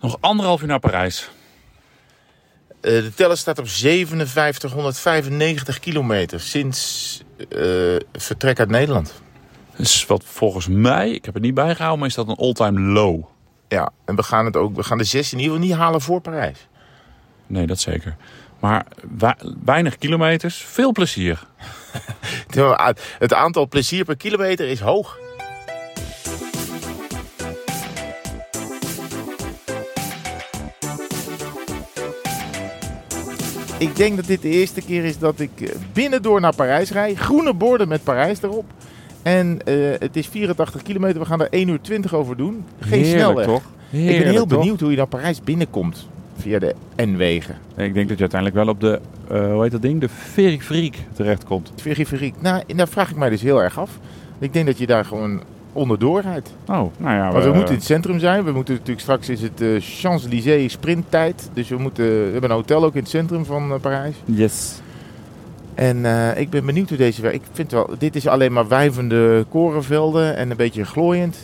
Nog anderhalf uur naar Parijs. Eh, de teller staat op 5795 kilometer sinds eh, vertrek uit Nederland. Dus wat volgens mij, ik heb het niet bijgehouden, maar is dat een all-time low. Ja, en we gaan, het ook, we gaan de 6 in ieder geval niet halen voor Parijs. Nee, dat zeker. Maar wa- weinig kilometers, veel plezier. Het aantal plezier per kilometer is hoog. Ik denk dat dit de eerste keer is dat ik eh, binnendoor naar Parijs rij. Groene borden met Parijs erop. En eh, het is 84 kilometer. We gaan er 1 uur 20 over doen. Geen Heerlijk, snelweg. toch? ik ben heel Heerlijk, toch? benieuwd hoe je naar Parijs binnenkomt. Via de N-wegen. Ik denk dat je uiteindelijk wel op de, eh, hoe heet dat ding? De Periferiek terechtkomt. Periferiek. Nou, en daar vraag ik mij dus heel erg af. Ik denk dat je daar gewoon onderdoor rijdt. Oh, nou ja. Want we eh, moeten in het centrum zijn. We moeten natuurlijk straks is het eh, Champs-Élysées sprinttijd. Dus we, moeten, we hebben een hotel ook in het centrum van eh, Parijs. Yes. En eh, ik ben benieuwd hoe deze... Ik vind wel, dit is alleen maar wijvende korenvelden en een beetje glooiend.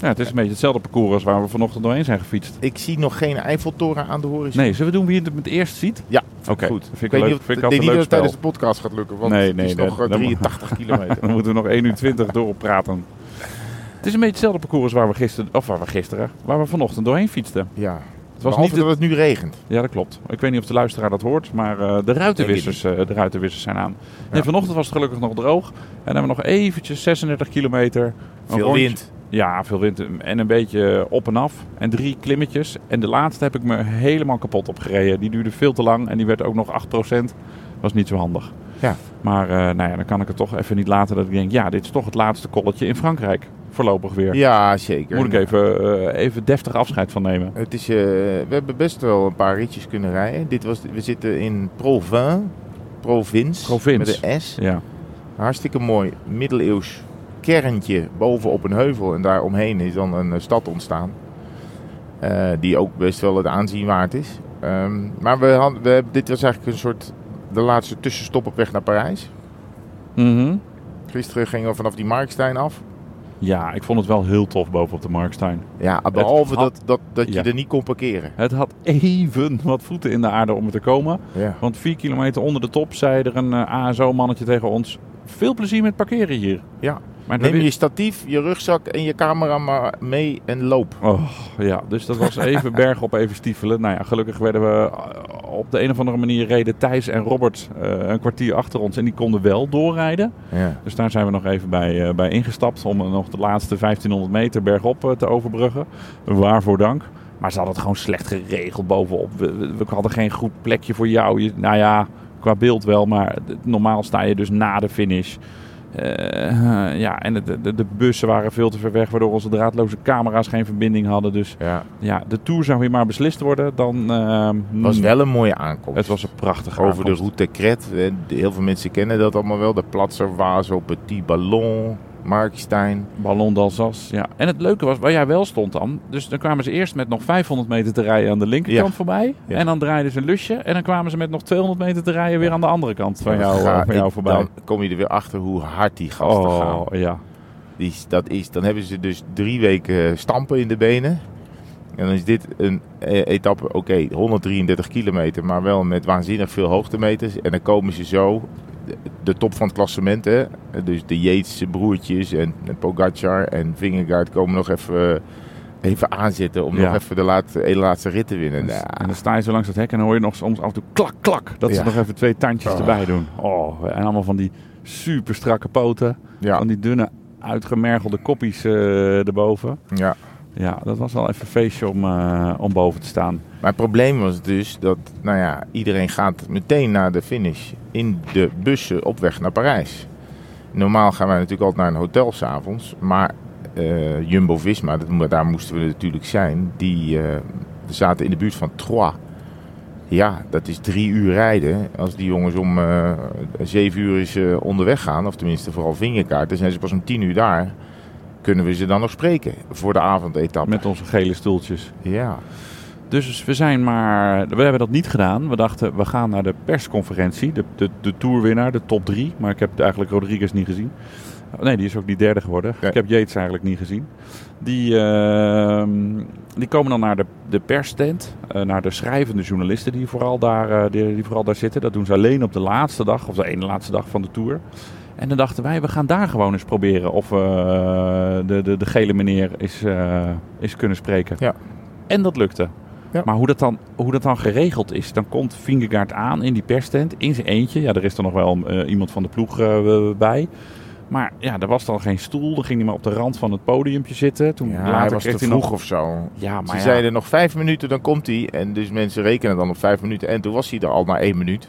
Ja, het is een beetje hetzelfde parcours als waar we vanochtend doorheen zijn gefietst. Ik zie nog geen Eiffeltoren aan de horizon. Nee, zullen we doen wie het het eerst ziet? Ja, Oké. Goed. Vind ik, een leuk, niet of, vind ik denk altijd niet een leuk dat het spel. tijdens de podcast gaat lukken, want Nee, het is nee, nog nee, eh, dat moet- 83 kilometer. Dan moeten we nog 1 uur 20 door op praten. Het is een beetje hetzelfde parcours als waar we gisteren, of waar we gisteren, waar we vanochtend doorheen fietsten. Ja, Het het was was niet dat het- het nu regent. Ja, dat klopt. Ik weet niet of de luisteraar dat hoort, maar eh, de, ruitenwissers, eh, de ruitenwissers zijn aan. Nee, vanochtend was het gelukkig nog droog. En hebben we nog eventjes 36 kilometer. een Veel rondje- wind. Ja, veel wind en een beetje op en af. En drie klimmetjes. En de laatste heb ik me helemaal kapot opgereden. Die duurde veel te lang en die werd ook nog 8%. Was niet zo handig. Ja. Maar eh, nou ja, dan kan ik het toch even niet laten dat ik denk... ja, dit is toch het laatste kolletje in Frankrijk. Voorlopig weer. Ja, zeker. Moet ik even, eh, even deftig afscheid van nemen. Het is, eh, we hebben best wel een paar ritjes kunnen rijden. Dit was, we zitten in Provins. Province, Provins. Met een S. Ja, Hartstikke mooi middeleeuws kerntje bovenop een heuvel. En daaromheen is dan een eh, stad ontstaan. Eh, die ook best wel het aanzien waard is. Ehm, maar we hadden, we, hebben- dit was eigenlijk een soort de laatste tussenstop op weg naar Parijs. Mhm. Gisteren gingen we vanaf die Markstein af. ja ik vond het wel heel tof bovenop de Markstein. Ja, behalve had- dat, dat, dat Ja. je er niet kon parkeren. Het had even wat voeten in de aarde om er te komen. Ja. Want vier kilometer onder de top zei er een eh, ASO-mannetje tegen ons... veel plezier met parkeren hier. Ja. Maar Neem dat- je statief, je rugzak en je camera maar mee en loop. Oh, ja, dus dat was even berg op, even stiefelen. Nou ja, gelukkig werden we eh, op de een of andere manier reden Thijs en Robert eh, een kwartier achter ons. En die konden wel doorrijden. Ja. Dus daar zijn we nog even bij, eh, bij ingestapt om eh, nog de laatste 1500 meter bergop eh, te overbruggen. Waarvoor dank. Maar ze hadden het gewoon slecht geregeld bovenop. We, we- we hadden geen goed plekje voor jou. Je- nou ja, qua beeld wel, maar d- normaal sta je dus na de finish. Eh, ja, en de, de, de bussen waren veel te ver weg, waardoor onze draadloze camera's geen verbinding hadden. Dus ja. ja, de Tour zou hier maar beslist worden. Dan, ehm, was wel een mooie aankomst. Het was een prachtige Over de aankomst. route Kret. eh, Heel veel mensen kennen dat allemaal wel. De Platser, Wazo, Petit Ballon, Markstein. Ballon d'Alsace, ja. En het leuke was, waar jij wel stond dan... Dus dan kwamen ze eerst met nog 500 meter te rijden aan de linkerkant Ja. voorbij. Ja. En dan draaiden ze een lusje. En dan kwamen ze met nog 200 meter te rijden weer aan de andere kant van jou, eh, Ga van jou ik- voorbij. Dan kom je er weer achter hoe hard die gasten gaan. oh, ja. Die, dat is, dan hebben ze dus drie weken eh, stampen in de benen. En dan is dit een eh, etappe, oké, 133 kilometer, maar wel met waanzinnig veel hoogtemeters. En dan komen ze zo, de, de top van het klassement, hè. Dus de Yates broertjes en Pogacar en Vingegaard komen nog even, eh, even aanzetten om Ja. nog even de laatste, ene laatste rit te winnen. Dus- Nou, En dan sta je zo langs dat hek en dan hoor je nog soms af en toe klak, klak. Dat ze Ja. nog even twee tandjes Oh. erbij doen. Oh, en allemaal van die super strakke poten. ja, Van die dunne, uitgemergelde koppies eh, erboven. ja. Ja, dat was wel even een feestje om, eh, om boven te staan. Maar het probleem was dus dat, nou ja, iedereen gaat meteen naar de finish in de bussen op weg naar Parijs. Normaal gaan wij natuurlijk altijd naar een hotel s'avonds, maar eh, Jumbo-Visma, dat mo- daar moesten we natuurlijk zijn, die eh, zaten in de buurt van Troyes. Ja, dat is drie uur rijden. Als die jongens om eh, zeven uur is eh, onderweg gaan, of tenminste vooral vingerkaart, dan zijn ze pas om tien uur daar. Kunnen we ze dan nog spreken voor de avondetappe? Met onze gele stoeltjes. Ja. Dus we zijn maar. We hebben dat niet gedaan. We dachten, we gaan naar de persconferentie. De, de, de toerwinnaar, de top drie. Maar ik heb eigenlijk Rodriguez niet gezien. Oh, Nee, die is ook niet derde geworden. Nee. Ik heb Yates eigenlijk niet gezien. Die, ehm, die komen dan naar de, de perstent. eh, naar de schrijvende journalisten die vooral, daar, eh, die, die vooral daar zitten. Dat doen ze alleen op de laatste dag. Of de ene laatste dag van de tour. En dan dachten wij, we gaan daar gewoon eens proberen. Of eh, de, de, de gele meneer is, eh, is kunnen spreken. Ja. En dat lukte. Ja. Maar hoe dat, dan, hoe dat dan geregeld is, dan komt Vingegaard aan in die perstent, in zijn eentje. Ja, er is dan nog wel eh, iemand van de ploeg eh, bij. Maar ja, er was dan geen stoel. Dan ging hij maar op de rand van het podiumpje zitten. Toen Ja, later hij was kreeg te hij nog- vroeg of zo. Ja, Ze Ah, maar ja, zeiden nog vijf minuten, dan komt hij. En dus mensen rekenen dan op vijf minuten. En toen was hij er al na één minuut.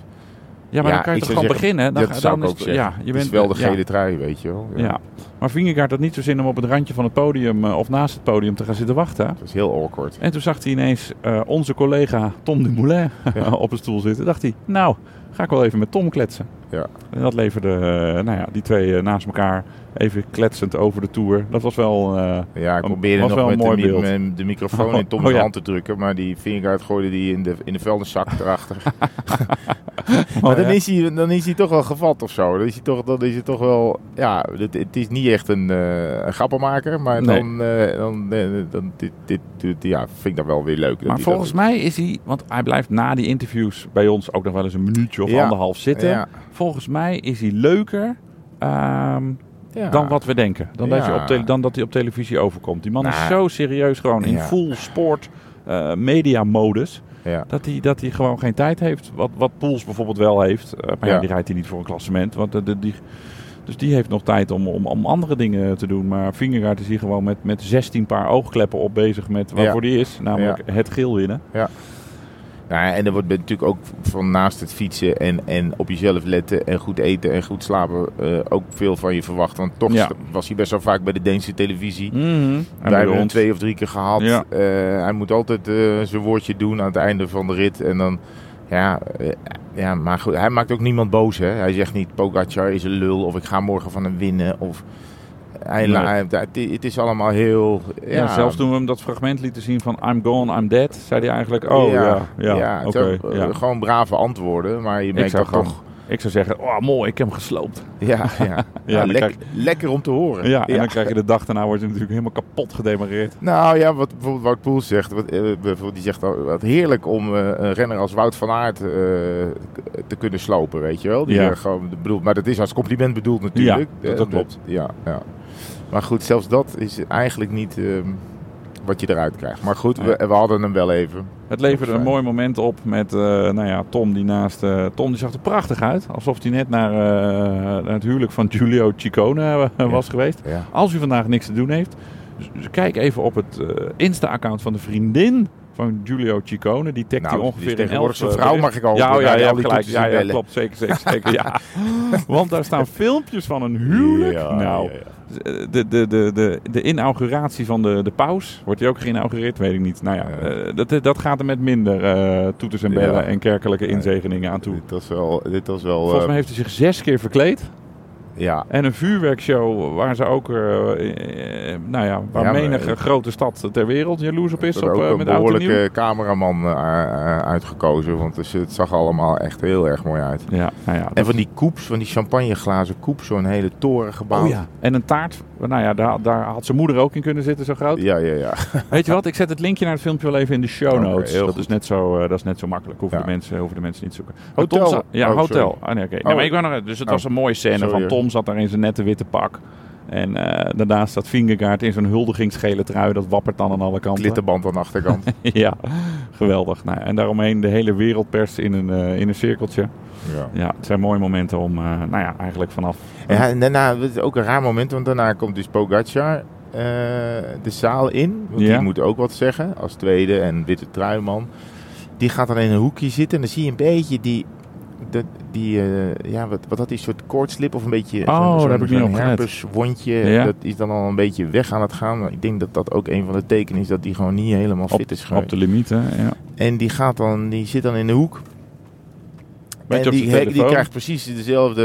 ja, maar Ja, dan kan je ik toch zou gewoon zeggen, beginnen. Dan, dat ga- zou dan ik is ook het- zeggen. Ja, je Het bent eh, is wel de ja. gele trui, weet je wel. Ja. Maar Vingegaard had niet zo zin om op het randje van het podium eh, of naast het podium te gaan zitten wachten. Dat is heel awkward. En toen zag hij ineens eh, onze collega Tom Dumoulin Ja. op een stoel zitten. dacht hij, nou, ga ik wel even met Tom kletsen. Ja. En dat leverde eh, nou ja, die twee eh, naast elkaar even kletsend over de tour. Dat was wel... eh, Ja, ik Dat probeerde was nog wel een met de, mooi mi- beeld. met de microfoon in Tom's Oh, ja. hand te drukken. Maar die Vingegaard gooide die in de, in de vuilniszak erachter. maar dan, Oh, ja. is hij, dan is hij toch wel gevat of zo. Dan is hij toch, dan is hij toch wel... Ja, het, het is niet echt een, eh, een grappenmaker. Maar Nee. dan, eh, dan, eh, dan dit, dit, dit- ja, vind ik dat wel weer leuk. maar dat hij dat volgens doet. mij is hij... Want hij blijft na die interviews bij ons ook nog wel eens een minuutje of Ja. anderhalf zitten. Ja, Volgens mij is hij leuker... ehm, ja. Dan wat we denken. Dan, dat Ja. je op tele- dan dat hij op televisie overkomt. Die man is Nou. zo serieus gewoon in Ja. full sport eh media modus. Ja. Dat hij, dat hij gewoon geen tijd heeft. Wat, wat Poels bijvoorbeeld wel heeft. Eh, maar ja. Ja. die rijdt hij niet voor een klassement. Want, eh, de- die, dus die heeft nog tijd om, om, om andere dingen te doen. Maar Vingegaard is hier gewoon met, met 16 paar oogkleppen op bezig met waarvoor die is. Namelijk het geel winnen. Nou, ja, en er wordt natuurlijk ook van naast het fietsen en, en op jezelf letten en goed eten en goed slapen eh, ook veel van je verwacht. Want toch Ja. was hij best wel vaak bij de Deense televisie. En Wij bij Mhm. hebben hem ons. twee of drie keer gehad. Ja. Eh, hij moet altijd eh, zijn woordje doen aan het einde van de rit. En dan, ja, eh, ja maar goed, hij maakt ook niemand boos. Hè? Hij zegt niet, Pogacar is een lul of ik ga morgen van hem winnen. Of, hij, Nee. hij- het, het is allemaal heel... Ja, Ja, zelfs toen we hem dat fragment lieten zien van I'm gone, I'm dead, zei hij eigenlijk, oh ja, ja, het oké. zijn, eh, ja. Gewoon brave antwoorden, maar je merkt zou dat gaan. toch... Ik zou zeggen, oh mooi, ik heb hem gesloopt. Ja, ja. ja, dan lek- krijg- lekker om te horen. Ja, en dan krijg je de dag daarna wordt hij natuurlijk helemaal kapot gedemareerd. Nou ja, wat bijvoorbeeld Wout Poels zegt, wat, eh, bijvoorbeeld, die zegt al, wat heerlijk om eh, een renner als Wout van Aert eh, k- te kunnen slopen, weet je wel. Die Ja. er gewoon, bedoelt, maar dat is als compliment bedoeld natuurlijk. Ja, dat- dat Eh, klopt. Ja, ja. Maar goed, zelfs dat is eigenlijk niet ehm, wat je eruit krijgt. Maar goed, we, we hadden hem wel even. Het leverde een Fijn. mooi moment op met eh, nou ja, Tom die naast... eh, Tom die zag er prachtig uit, alsof hij net naar, eh, naar het huwelijk van Giulio Ciccone eh, was geweest. Ja. Als u vandaag niks te doen heeft, dus- dus kijk even op het eh, Insta-account van de vriendin van Giulio Ciccone. Die tagt Nou, hij die ongeveer is tegenwoordig in elf, zijn eh, vrouw, berichten. mag ik hopen, Ja, oh, na ja, die ja, al die gelijk. toetsen Ja, en ja, bellen. klopt. Zeker, zeker, zeker. Ja. Want daar staan filmpjes van een huwelijk. Ja, nou, ja, ja. de, de, de, de, de inauguratie van de, de paus. Wordt die ook geïnaugureerd? Weet ik niet. Nou ja, Ja. eh, dat, dat gaat er met minder eh, toeters en bellen Ja. en kerkelijke inzegeningen aan toe. Dit was wel... Dit was wel Volgens mij eh, heeft hij zich zes keer verkleed. ja, En een vuurwerkshow waar ze ook, eh, eh, nou ja, waar Ja, maar- menige grote stad ter wereld jaloers op is. Er Op, ook eh, een met oud en nieuw. behoorlijke cameraman eh, eh, uitgekozen. Want dus het zag allemaal echt heel erg mooi uit. Ja, nou ja. En van die koeps, van die champagneglazen koeps, zo'n hele toren gebouwd. Oh ja. En een taart. Nou ja, daar, daar had zijn moeder ook in kunnen zitten, zo groot. Ja, ja, ja. Weet je wat? Ik zet het linkje naar het filmpje wel even in de show Oké, notes. heel dat, goed. is net zo, eh, dat is net zo makkelijk. Hoeven, Ja. de mensen, hoeven de mensen niet te zoeken. Maar Hotel. Tom zat- ja, Oh, hotel. sorry. Ah, nee, oké. Nee, Oh. maar ik wou nog, dus het Oh. was een mooie scène. Van Sorry. Tom zat daar in zijn nette witte pak. En eh, daarnaast zat Vingegaard in zo'n huldigingsgele trui. Dat wappert dan aan alle kanten. Glitterband aan de achterkant. ja, geweldig. Nou, en daaromheen de hele wereldpers in een, eh, in een cirkeltje. ja. Ja, het zijn mooie momenten om, eh, nou ja, eigenlijk vanaf... Ja, en daarna, dat is ook een raar moment, want daarna komt dus Pogacar eh, de zaal in. Want Ja. die moet ook wat zeggen als tweede en witte truiman. Die gaat dan in een hoekje zitten en dan zie je een beetje die... dat- die, eh, ja, wat, wat had die soort koortslip of een beetje Oh, zo'n- daar zo'n- heb ik niet zo'n op gelet. herpeswondje. Ja. Dat is dan al een beetje weg aan het gaan. Maar ik denk dat dat ook een van de tekenen is dat die gewoon niet helemaal Op- fit is geweest. Op de limiet, hè? Ja. En die, gaat dan, die zit dan in de hoek. Beetje en op die, zijn he- die telefoon. krijgt precies dezelfde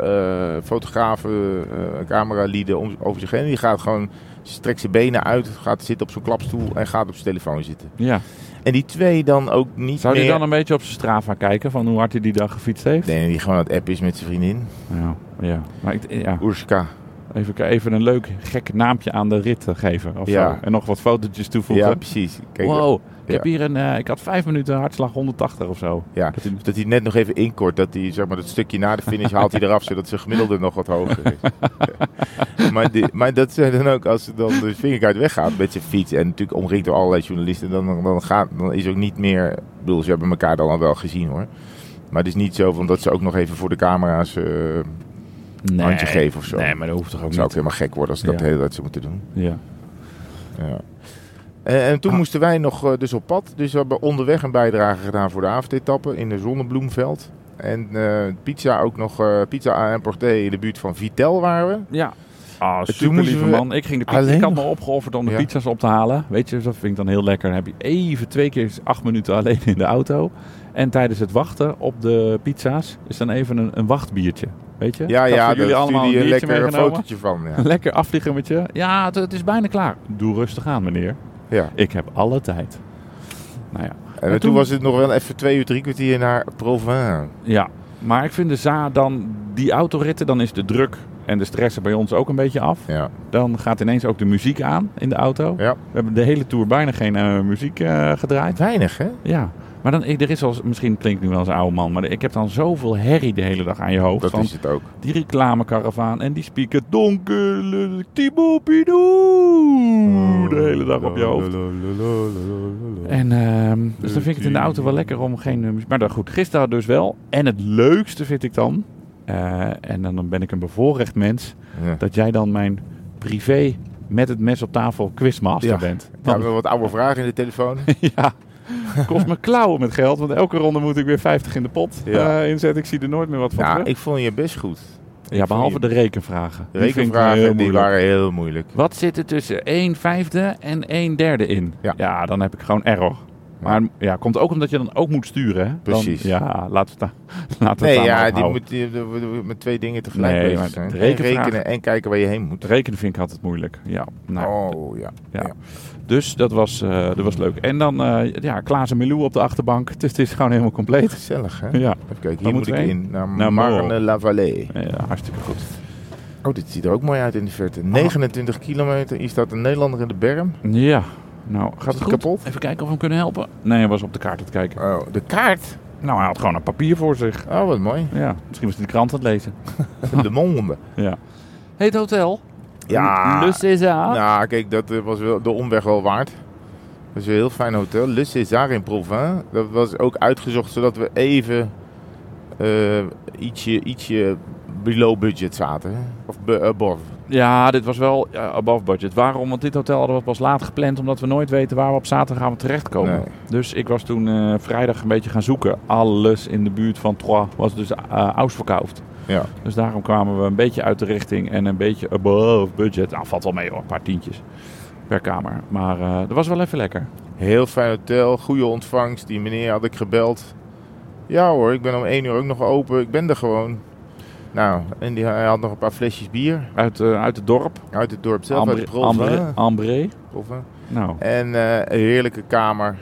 eh, fotografen, eh, cameralieden om, over zich heen. Die gaat gewoon, strekt zijn benen uit, gaat zitten op zo'n klapstoel en gaat op zijn telefoon zitten. ja. En die twee dan ook niet Zou je meer... dan een beetje op zijn Strava kijken van hoe hard hij die dag gefietst heeft? Nee, die gewoon aan het app is met zijn vriendin, Ja, ja. Maar ik, ja. Urska. Even, even een leuk gek naampje aan de rit eh, geven. Of Ja. zo. En nog wat fotootjes toevoegen. Ja, precies. Kijk, wow, ik Ja. heb hier een. eh, ik had vijf minuten hartslag 180 of zo. Ja, Dat hij- dat hij net nog even inkort. Dat hij zeg maar dat stukje na de finish haalt hij eraf, zodat zijn gemiddelde nog wat hoger is. maar, die, maar dat zijn dan ook, als dan de vingerkaart weggaat met zijn fiets en natuurlijk omringd door allerlei journalisten, dan, dan, gaat, dan is ook niet meer. Ik bedoel, ze hebben elkaar dan al wel gezien hoor. Maar het is niet zo van dat ze ook nog even voor de camera's eh Nee. handje geven of zo. Nee, maar dat hoeft toch ook dat zou ook niet. helemaal gek worden als ik dat Ja. de hele tijd zou moeten doen. Ja. Ja. En, en Ah. toen moesten wij nog eh, dus op pad. Dus we hebben onderweg een bijdrage gedaan voor de avondetappe in de Zonnebloemveld. En eh, pizza ook nog, eh, pizza en Porté in de buurt van Vitel waren we. Ja. Ah, toen super lieve moesten we man. Ik, ging de pizza, alleen ik had me nog- opgeofferd om de Ja. pizza's op te halen. Weet je, dat vind ik dan heel lekker. Dan heb je even twee keer acht minuten alleen in de auto. En tijdens het wachten op de pizza's is dan even een, een wachtbiertje. Weet je? Ja, Ik had ja, voor daar jullie allemaal stuurde een je een biertje lekker een meegenomen. fotootje van. Ja. Een lekker afvliegermetje. Ja, het, het is bijna klaar. Doe rustig aan, meneer. ja. Ik heb alle tijd. Nou ja. En, toen toen- was het nog wel even twee uur, drie kwartier naar Provence. ja. Maar ik vind de za dan, die autoritten, dan is de druk en de stress er bij ons ook een beetje af. Ja. Dan gaat ineens ook de muziek aan in de auto. ja. We hebben de hele tour bijna geen eh, muziek eh, gedraaid. Weinig, hè? Ja, maar dan, ik- er is als, misschien klinkt ik nu wel als een oude man, maar ik heb dan zoveel herrie de hele dag aan je hoofd. Dat van is het ook. die reclamekaravaan en die speaker donker, Thibaut Pinot, de hele dag op je hoofd. En ehm, dus dan vind ik het in de auto wel lekker om geen eh, muziek. Maar dan goed, gisteren dus wel. En het leukste vind ik dan, eh, en dan ben ik een bevoorrecht mens, Ja. dat jij dan mijn privé met het mes op tafel quizmaster Ja. bent. Ik heb nog wat oude vragen in de telefoon. Ja, kost me klauwen met geld, want elke ronde moet ik weer 50 in de pot Ja. eh, inzetten. Ik zie er nooit meer wat van Ja, terug. ik vond je best goed. ja, behalve ik- de rekenvragen. Die vind ik heel Rekenvragen, die moeilijk. waren heel moeilijk. Wat zit er tussen 1 vijfde en 1 derde in? Ja. dan heb ik gewoon error. Maar ja, komt ook omdat je dan ook moet sturen. Hè? Dan- Precies. ja, laten we het daar- laten we het Nee, daar maar ja, op die houden. moet die- die- die- die- met twee dingen tegelijk Nee, bezig maar zijn. de En rekenvraag- rekenen en kijken waar je heen moet. Rekenen vind ik altijd moeilijk. Ja, nou, Oh ja. ja. ja. Dus dat was, eh, dat was leuk. En dan eh ja, Klaas en Milou op de achterbank. Dus het is gewoon helemaal compleet. Gezellig, hè? Ja, Even kijken, Waar hier moet moeten ik we heen? in. Naar, Naar Marne-la-Vallée. ja hartstikke goed. Oh, dit ziet er ook mooi uit in de Oh. verte. 29 kilometer. Hier staat een Nederlander in de berm. Ja, nou gaat het het goed? kapot? Even kijken of we hem kunnen helpen. Nee, hij was op de kaart aan het kijken. Oh, de kaart. Nou, hij had gewoon een papier voor zich. Oh, wat mooi. Ja, misschien was hij de krant aan het lezen. De Monde. Ja. Heet hotel? Ja. Le César. Nou, kijk, dat eh, was wel de omweg wel waard. Dat is een heel fijn hotel. Le César in Provence. Dat was ook uitgezocht zodat we even eh, ietsje, ietsje below budget zaten. hè. Of be- above. Ja, dit was wel eh, above budget. Waarom? Want dit hotel hadden we pas laat gepland, omdat we nooit weten waar we op zaterdagavond terechtkomen. Nee. Dus ik was toen eh, vrijdag een beetje gaan zoeken. Alles in de buurt van Troyes was dus eh ausverkauft. Ja. Dus daarom kwamen we een beetje uit de richting en een beetje above budget. Nou, valt wel mee hoor, een paar tientjes per kamer. Maar eh, dat was wel even lekker. Heel fijn hotel, goede ontvangst. Die meneer had ik gebeld. Ja hoor, ik ben om één uur ook nog open. Ik ben er gewoon. Nou, en die, hij had nog een paar flesjes bier Uit, eh, uit het dorp. uit het dorp zelf, Ambre, uit Provence. Ambre- Ambre. Provence. Nou, En eh, een heerlijke kamer.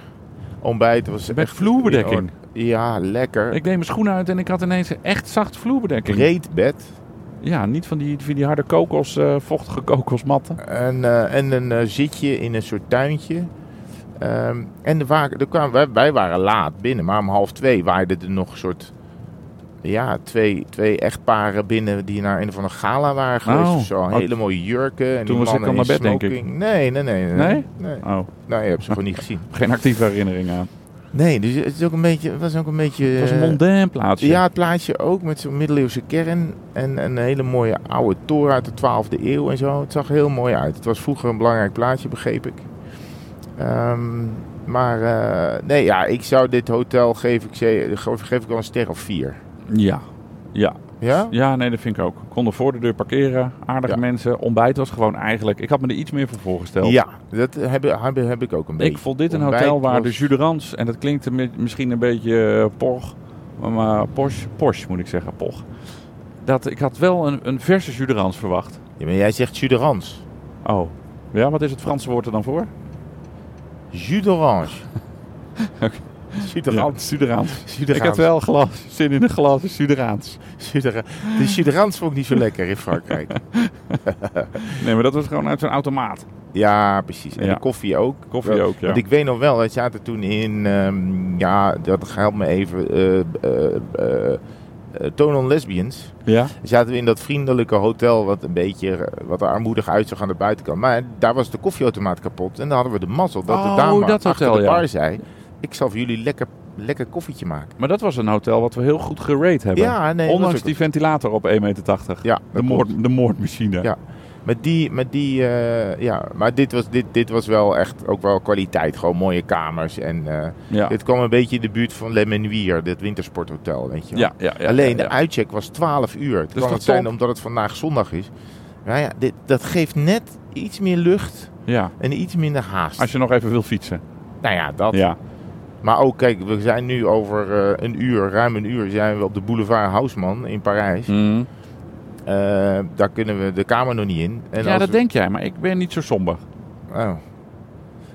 Ontbijt was met vloerbedekking. Oh, Ja, lekker. Ik deed mijn schoenen uit en ik had ineens een echt zacht vloerbedekking. Breed bed. Ja, niet van die, van die harde kokos, eh, vochtige kokosmatten. En, eh, en een eh, zitje in een soort tuintje. Ehm, en er waren, er kwamen, wij, wij waren laat binnen, maar om half twee waaiden er nog een soort... Ja, twee, twee echtparen binnen die naar een of andere gala waren geweest Oh. of zo. Oh, Hele mooie jurken. En toen die was ik mannen al in naar bed, denk ik. smoking. Nee, nee, nee. Nee? nee. Oh, Nou, je hebt ze gewoon niet gezien. geen actieve herinnering aan. Nee, dus het is ook een beetje, het was ook een beetje... Het was een eh, mondain plaatsje. Ja, het plaatje ook met zo'n middeleeuwse kern en een hele mooie oude toren uit de 12e eeuw en zo. Het zag er heel mooi uit. Het was vroeger een belangrijk plaatje, begreep ik. Ehm, maar eh, nee, ja, ik zou dit hotel geef ik, ze- geef, geef ik wel een ster of vier. ja. Ja. Ja? Ja, nee, dat vind ik ook. Konden voor de deur parkeren, aardige Ja. mensen. Ontbijt was gewoon eigenlijk... Ik had me er iets meer voor voorgesteld. Ja, dat heb, heb, heb ik ook een beetje. Ik vond dit een Ontbijt hotel waar de was- juderans... En dat klinkt een beetje- misschien een beetje eh, porg. Maar Porsche, Porsche moet ik zeggen, porg. Dat, ik had wel een, een verse juderans verwacht. Ja, maar jij zegt jus d'orange. Oh. Ja, wat is het Franse woord er dan voor? Jus d'orange. Suderaans. Suderaans. Ik Suderaans. had wel glas, zin in een glas Suderaans. Sudera- De Suderaans vond ik niet zo lekker in Frankrijk. Nee, maar dat was gewoon uit zo'n automaat. Ja, precies. En Ja. de koffie ook. Koffie Wel- ook, ja. Want ik weet nog wel, wij zaten toen in... ehm, ja, dat helpt me even. eh eh, eh, eh, Tone on Lesbians. Ja? Zaten we in dat vriendelijke hotel wat een beetje eh, wat er armoedig uitzag aan de buitenkant. Maar daar was de koffieautomaat kapot. En dan hadden we de mazzel dat Oh, de dame dat achter hotel, de ja. bar zei... Ik zal voor jullie lekker, lekker koffietje maken. Maar dat was een hotel wat we heel goed gerate hebben. Ja, nee, dat was Ondanks ook- die ventilator op 1,80 meter. Ja, de, dat moord, de moordmachine. Ja. Met die, met die eh, ja, maar dit was, dit, dit was wel echt ook wel kwaliteit. Gewoon mooie kamers. En eh, Ja. dit kwam een beetje in de buurt van Le Menuir, dit wintersporthotel, weet je wel. Ja, ja, ja, Alleen ja, de ja. uitcheck was 12 uur. Het is kan toch het zijn top? omdat het vandaag zondag is. Nou ja, dit, dat geeft net iets meer lucht Ja. en iets minder haast. Als je nog even wil fietsen. Nou ja, dat. Ja. Maar ook, kijk, we zijn nu over eh, een uur, ruim een uur, zijn we op de boulevard Haussmann in Parijs. Hm. Mm. Eh, daar kunnen we de kamer nog niet in. En Ja, als dat we- denk jij, maar ik ben niet zo somber. Oh.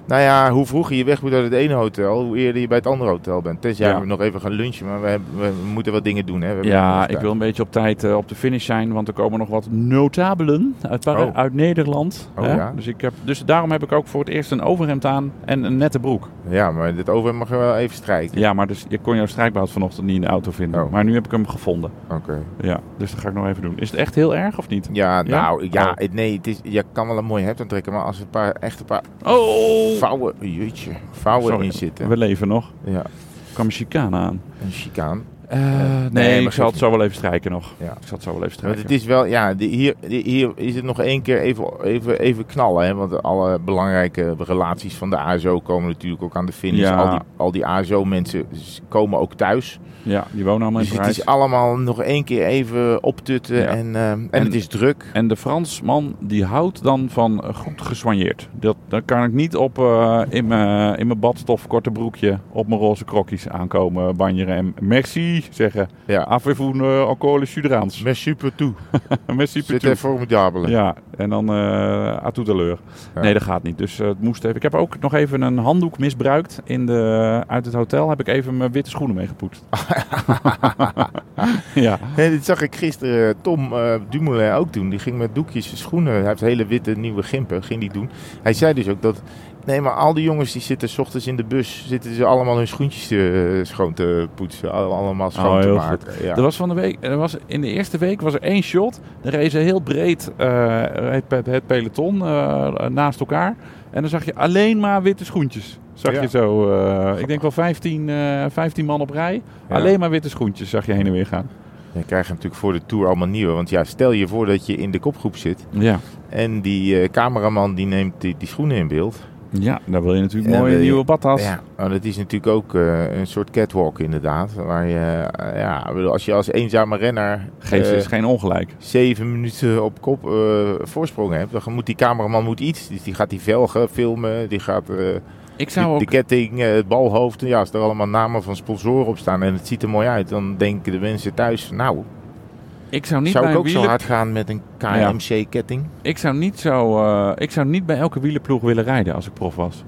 Nou ja, hoe vroeger je weg moet uit het ene hotel, hoe eerder je bij het andere hotel bent. Tenzij Ja. we nog even gaan lunchen, maar we, hebben- we moeten wat dingen doen. Hè. We hebben nog Ja, wat ik tijd. wil een beetje op tijd eh, op de finish zijn, want er komen nog wat notabelen uit, Par- Oh. uit Nederland. Oh, hè? ja. dus, ik heb, dus daarom heb ik ook voor het eerst een overhemd aan en een nette broek. Ja, maar dit over mag je wel even strijken. Ja, maar dus, je kon jouw strijkbout vanochtend niet in de auto vinden. Oh. Maar nu heb ik hem gevonden. Oké. Ja, dus dat ga ik nog even doen. Is het echt heel erg of niet? Ja, nou, ja, Oh. het- nee, het is, je kan wel een mooi hemd aantrekken, maar als er een paar, echt een paar Oh! vouwen, jeetje, vouwen Sorry, in zitten. We leven nog. Ja, Ik kwam een chicane aan. Eh, een chicaan. nee, Eh, nee, maar ik zal het geeft zo wel even strijken nog. Ja. Ik zal het zo wel even Want strijken. het is wel, ja, die- hier, die- hier is het nog één keer even, even, even knallen. Hè? Want alle belangrijke relaties van de ASO komen natuurlijk ook aan de finish. Ja. Al die, al die ASO-mensen s- komen ook thuis. Ja, die wonen allemaal in Dus het Parijs. is allemaal nog één keer even optutten. Ja. En, ehm, en, En- het is druk. En de Fransman die houdt dan van eh, goed gesoigneerd. Dat, dat kan ik niet op eh, in mijn in mijn badstof korte broekje op mijn roze krokjes aankomen banjeren en merci zeggen. Ja. Afwevoen uh, alcohol sudraans. Merci pour tout. Merci Zit pour er tout. formidabel. Ja, en dan eh à tout à l'heure. Ja. Nee, dat gaat niet. Dus eh, het moest even. Ik heb ook nog even een handdoek misbruikt in de, uit het hotel. Heb ik even mijn witte schoenen meegepoetst. ja. Nee, dit zag ik gisteren Tom eh, Dumoulin ook doen. Die ging met doekjes zijn schoenen. Hij heeft hele witte nieuwe gimpen. Ging die doen. Hij zei dus ook dat. Nee, maar al die jongens die zitten 's ochtends in de bus. Zitten ze allemaal hun schoentjes eh, schoon te poetsen. al- Allemaal schoon Oh, te heel maken. Ja. Er was van de week, er was, in de eerste week was er één shot. Er rezen heel breed eh, het, pe- het peloton eh, naast elkaar. En dan zag je alleen maar witte schoentjes. Zag Ja. je zo, eh, ik denk wel 15, eh 15 man op rij. Ja. Alleen maar witte schoentjes zag je heen en weer gaan. Dan krijg je natuurlijk voor de tour allemaal nieuwe. Want ja, stel je voor dat je in de kopgroep zit. Ja, En die eh, cameraman die neemt die, die schoenen in beeld. ja daar wil je natuurlijk Ja, mooie wil je- nieuwe badtas. Ja, nou, dat is natuurlijk ook eh, een soort catwalk inderdaad. Waar je, eh, ja, ik bedoel, als je als eenzame renner... Geef ze eh, eens geen ongelijk. zeven minuten op kop eh, voorsprong hebt, dan moet die cameraman moet iets. Dus die gaat die velgen filmen, die gaat eh, Ik die- zou de ook... ketting, eh, het balhoofd. En Ja, als er allemaal namen van sponsoren op staan en het ziet er mooi uit, dan denken de mensen thuis, nou, Ik zou niet zou bij ik een ook zo wieler- hard gaan met een KMC-ketting? Ik zou niet zo. eh, ik zou niet bij elke wielerploeg willen rijden als ik prof was.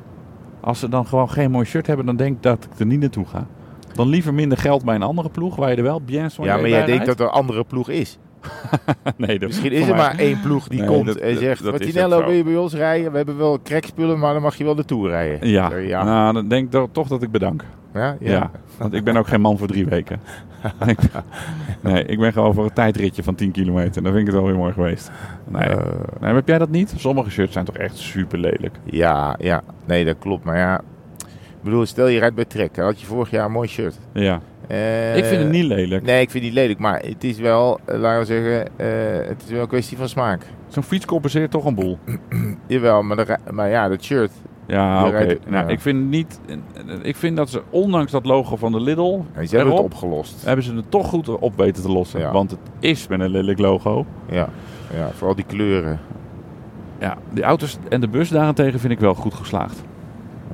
Als ze dan gewoon geen mooi shirt hebben, dan denk ik dat ik er niet naartoe ga. Dan liever minder geld bij een andere ploeg waar je er wel bien Ja, soigné maar bij jij rijdt. denkt dat er een andere ploeg is. nee, dat Misschien is voor er mij- maar één ploeg die Nee, komt dat- en dat- zegt, dat is Martinello, ook zo. wil je bij ons rijden? We hebben wel crackspullen, maar dan mag je wel de Tour rijden. Ja, Sorry, ja. ja. Nou, dan denk ik dat- toch dat ik bedank. Ja, Ja. ja. want ik ben ook geen man voor drie weken. Ik- nee, ik ben gewoon voor een tijdritje van 10 kilometer. Dan vind ik het wel weer mooi geweest. Nee, Eh, nee maar heb jij dat niet? Sommige shirts zijn toch echt super lelijk. Ja, ja. Nee, dat klopt. Maar ja, ik bedoel, stel je rijdt bij Trek. Dan had je vorig jaar een mooi shirt. Ja. Eh, ik vind het niet lelijk. Nee, ik vind het niet lelijk. Maar het is wel, eh, laten we zeggen, eh, het is wel een kwestie van smaak. Zo'n fiets compenseert toch een boel. Jawel, maar, dan rij- maar ja, dat shirt. Ja, Je oké. rijdt- Nou, ja. ik vind niet. Ik vind dat ze, ondanks dat logo van de Lidl, En nou, ze hebben het erop, opgelost. hebben ze het toch goed op weten te lossen. Ja. Want het is met een lelijk logo. Ja. ja, vooral die kleuren. Ja, die auto's en de bus daarentegen vind ik wel goed geslaagd.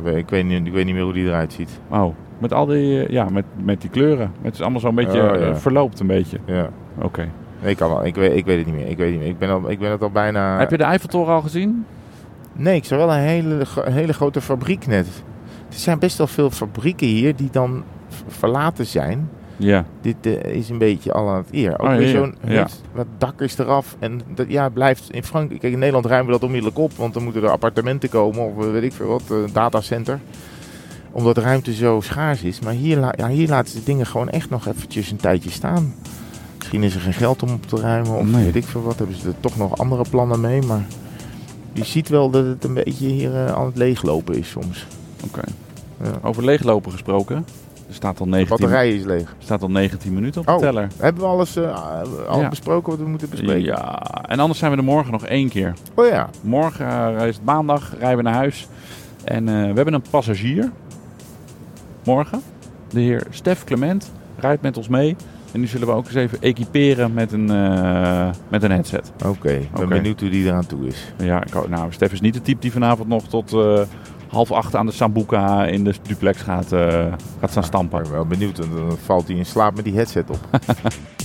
Ik weet niet, ik weet niet meer hoe die eruit ziet. Oh, met al die, eh, ja, met, met die kleuren. Het is allemaal zo'n beetje Oh, ja. eh, verloopt een beetje. Ja. Oké. Nee, Ik, kan wel, ik, weet, ik weet het niet meer. Ik, weet het niet meer. Ik, ben al, ik ben het al bijna... Heb je de Eiffeltoren al gezien? Nee, ik zag wel een hele, gro- hele grote fabriek net. Er zijn best wel veel fabrieken hier die dan v- verlaten zijn. Ja, Dit eh, is een beetje al aan het eer. Ook Ah, ja, weer ja. zo'n Ja. het- wat dak is eraf. En dat, ja, het blijft in Frankrijk. Kijk, in Nederland ruimen we dat onmiddellijk op. Want dan moeten er appartementen komen of eh, weet ik veel wat, eh, datacenter. Omdat de ruimte zo schaars is. Maar hier, la- ja, hier laten ze dingen gewoon echt nog eventjes een tijdje staan. Misschien is er geen geld om op te ruimen. Of Nee. weet ik veel wat. Hebben ze er toch nog andere plannen mee. Maar je ziet wel dat het een beetje hier eh, aan het leeglopen is soms. oké. Ja. Over leeglopen gesproken. Er staat al 19, er Batterij is leeg. staat al 19 minuten op de Oh. teller. Hebben we alles eh, al Ja. besproken wat we moeten bespreken? Ja, en anders zijn we er morgen nog één keer. Oh ja. Morgen eh, is het maandag, rijden we naar huis. En eh, we hebben een passagier. Morgen. De heer Stef Clement rijdt met ons mee. En die zullen we ook eens even equiperen met een, eh, met een headset. Oké, ik ben Oké. benieuwd hoe die eraan toe is. Ja, ik, ho- nou, Stef is niet de type die vanavond nog tot eh, half acht aan de Sambuca in de duplex gaat, eh, gaat staan Maar stampen. ik ben wel benieuwd, want dan valt hij in slaap met die headset op.